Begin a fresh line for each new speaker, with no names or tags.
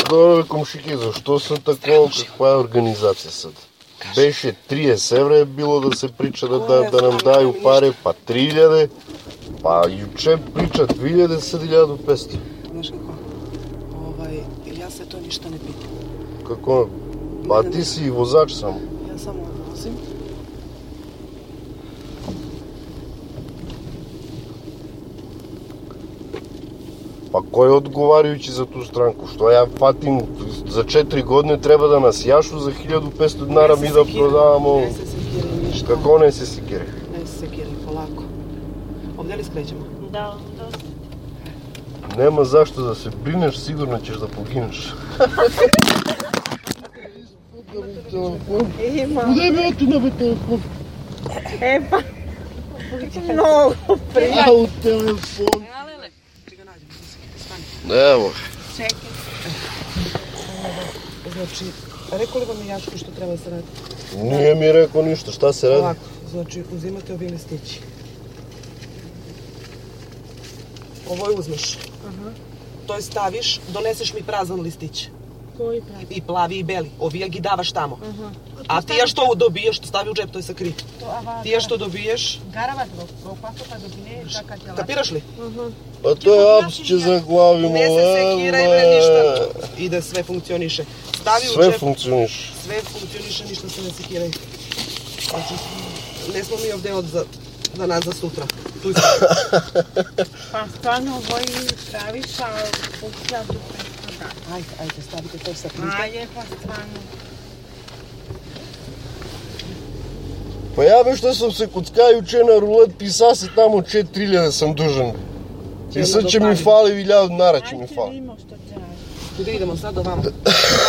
Здраве, комшики, защо са такова? Каква е организация са? Беше 30 евро е било да се прича да, да, да нам дай опаре, па 3000, па юче прича 2000, 7500.
Znaš kako? Ovaj, ja se to ništa ne pitam.
Какво? А ти си и возач само.
Ja samo odvozim.
Па кой е отговаряючи за ту странку? Що я фатим за 4 години трябва да насяшо за 1500 днара ми да продавамо?
Ne se sekiraj ništa.
Какво не се секирах?
Ne se sekiraj, polako. Ovdje li skrećemo?
Да, да.
Нема защо да се бринеш, сигурно ćeš да погинеш.
Има.
Куда ми отина бе телефон?
Е, па. Много.
А, от телефон.
Ti ga nađemo.
Evo.
Znači, rekao li vam je Jaško što treba da se radi?
Nije mi rekao ništa, šta se radi?
Ovako, znači uzimate ovi listići. Ovo je uzmeš. To je staviš, doneseš mi prazan listić.
Koji прави?
I plavi i beli. Ovi ja gi davaš tamo. A ti ja što ovo dobiješ, što stavi u džep, to je sakri.
Ава,
Ti ja što dobiješ,
гарава го, го пасока до гине, така тела.
kapiraš li?
Pa to je apsće za glavi mu.
Ne se sekiraj, bre, ništa. Ide, sve funkcioniše. Stavi u
Sve
džep,
funkcioniš.
sve funkcioniše, ništa se ne sekiraj. Znači, ne smo mi ovdje od za, za nas za sutra. Tu smo.
Па стварно овој правиш, а покија до преспродат.
Ajde, ajde, stavite to sa
Ајде, па стварно.
Pa ja već što sam se kocka juče na rulet pisa se tamo 4000 sam dužan. I sad će mi fali 1000 dinara će mi
Ајде,
fali.
видимо што ќе ради.
Kuda idemo sad ovamo?